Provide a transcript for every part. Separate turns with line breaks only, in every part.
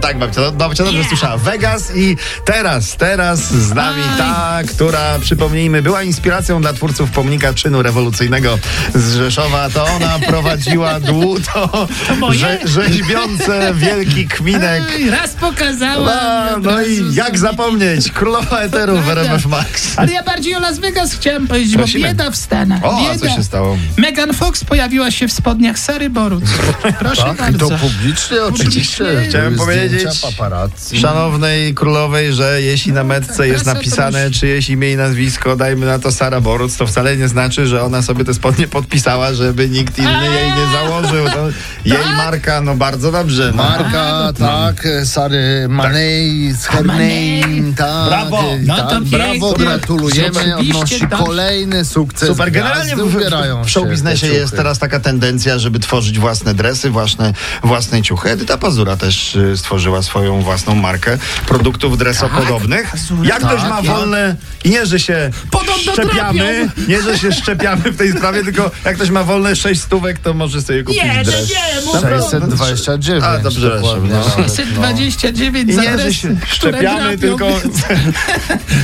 Tak, babcia, do- babcia dobrze
Yeah.
słyszała. Vegas i teraz, teraz z nami
Oj.
ta, która, przypomnijmy, była inspiracją dla twórców pomnika czynu rewolucyjnego z Rzeszowa. To ona prowadziła dłuto
moje?
rze, rzeźbiące wielki kminek.
Oj, Raz pokazałam.
No,
od
no
razu
i jak
zrobię.
zapomnieć, królowa eteru w
Prawda.
RMF Max.
Ale ja bardziej o Las Vegas chciałem powiedzieć,
Prosimy.
bo bieda w Stanach.
O, a
bieda.
co się stało?
Megan Fox pojawiła się w spodniach Sary Borut. Proszę
Tak, i
bardzo.
to publicznie oczywiście.
Publicznie.
Chciałem
Były
powiedzieć-
zdjęcia paparazzi.
Szanownej królowej, że jeśli na metce jest
prasa to
napisane
już-
czyjeś imię i nazwisko, dajmy na to Sara Boruc, to wcale nie znaczy, że ona sobie te spodnie podpisała, żeby nikt inny jej nie założył. To jej marka, no bardzo dobrze. No.
Marka, tak, Sary Manej, z Hernej,
Manej.
tak.
Brawo.
e,
No
tak,
to
brawo,
pięknie.
gratulujemy,
Oczywiście,
odnosi
tak.
kolejny sukces.
Super, generalnie w,
Gwiazdy ubierają
w, w show
się
biznesie
te ciuchy.
jest teraz taka tendencja, żeby tworzyć własne dresy, własne, własne ciuchy. Edyta Pazura też y, stworzyła swoją własną markę produktów dresopodobnych.
Pazura,
Jak ktoś
tak,
ma
tak.
wolne i nie, że się
Podobno
szczepiamy, nie, że się szczepiamy w tej sprawie, tylko jak ktoś ma wolne sześć stówek, to może sobie kupić
Nie, nie,
dres.
nie, mów-
Naprawdę.
629.
A, dobrze,
dokładnie,
no.
nawet, no.
629
I
za
nie, że
adres,
się
które
szczepiamy,
drapią.
tylko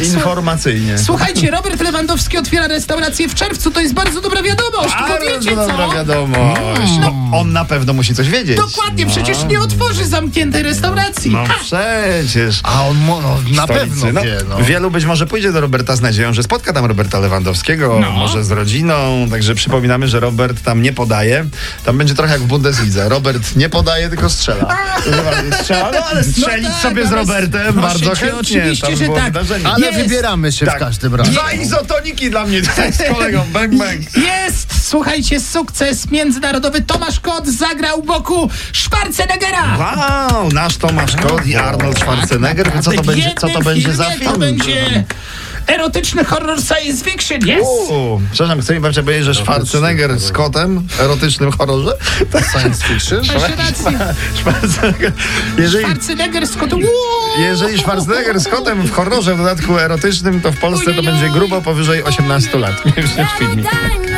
informacyjnie.
Słuchajcie, Robert Lewandowski otwiera restaurację w czerwcu. To jest bardzo dobra wiadomość.
Bardzo
Powiecie
dobra
co?
wiadomość. No, on na pewno musi coś wiedzieć.
Dokładnie, przecież nie otworzy zamkniętej restauracji.
No
Ha!
przecież.
A on mo- no, na
stolicy.
pewno
No,
wie, no.
Wielu być może pójdzie do Roberta z nadzieją, że spotka tam Roberta Lewandowskiego, może z rodziną. Także przypominamy, że Robert tam nie podaje. Tam będzie trochę jak w Bundeslidze. Robert nie podaje, tylko strzela. strzela no, ale strzelić
No tak,
sobie z
ale
Robertem
proszę
bardzo
cię,
chętnie.
oczywiście,
Tam
że
było
tak.
wydarzenie.
Ale
Jest.
wybieramy się
Tak.
w każdym razie.
Dwa izotoniki dla mnie tutaj z kolegą. Bang, bang.
Jest, słuchajcie, sukces międzynarodowy. Tomasz Kot zagrał boku Schwarzeneggera.
Wow, nasz Tomasz Kot i Arnold Schwarzenegger. Co to
W
będzie, co to
jednym
będzie za
filmie
film?
To będzie erotyczny horror science fiction, jest.
Uuu, Przepraszam, chce mi pan powiedzieć, że Schwarzenegger z kotem w erotycznym horrorze? Tak,
Science fiction.
Masz rację.
Schwarzenegger. Jeżeli,
Schwarzenegger z kotem.
jeżeli Schwarzenegger z kotem w horrorze w dodatku erotycznym, to w Polsce to będzie grubo powyżej 18 lat. Nie wiem, w filmie.
Dime.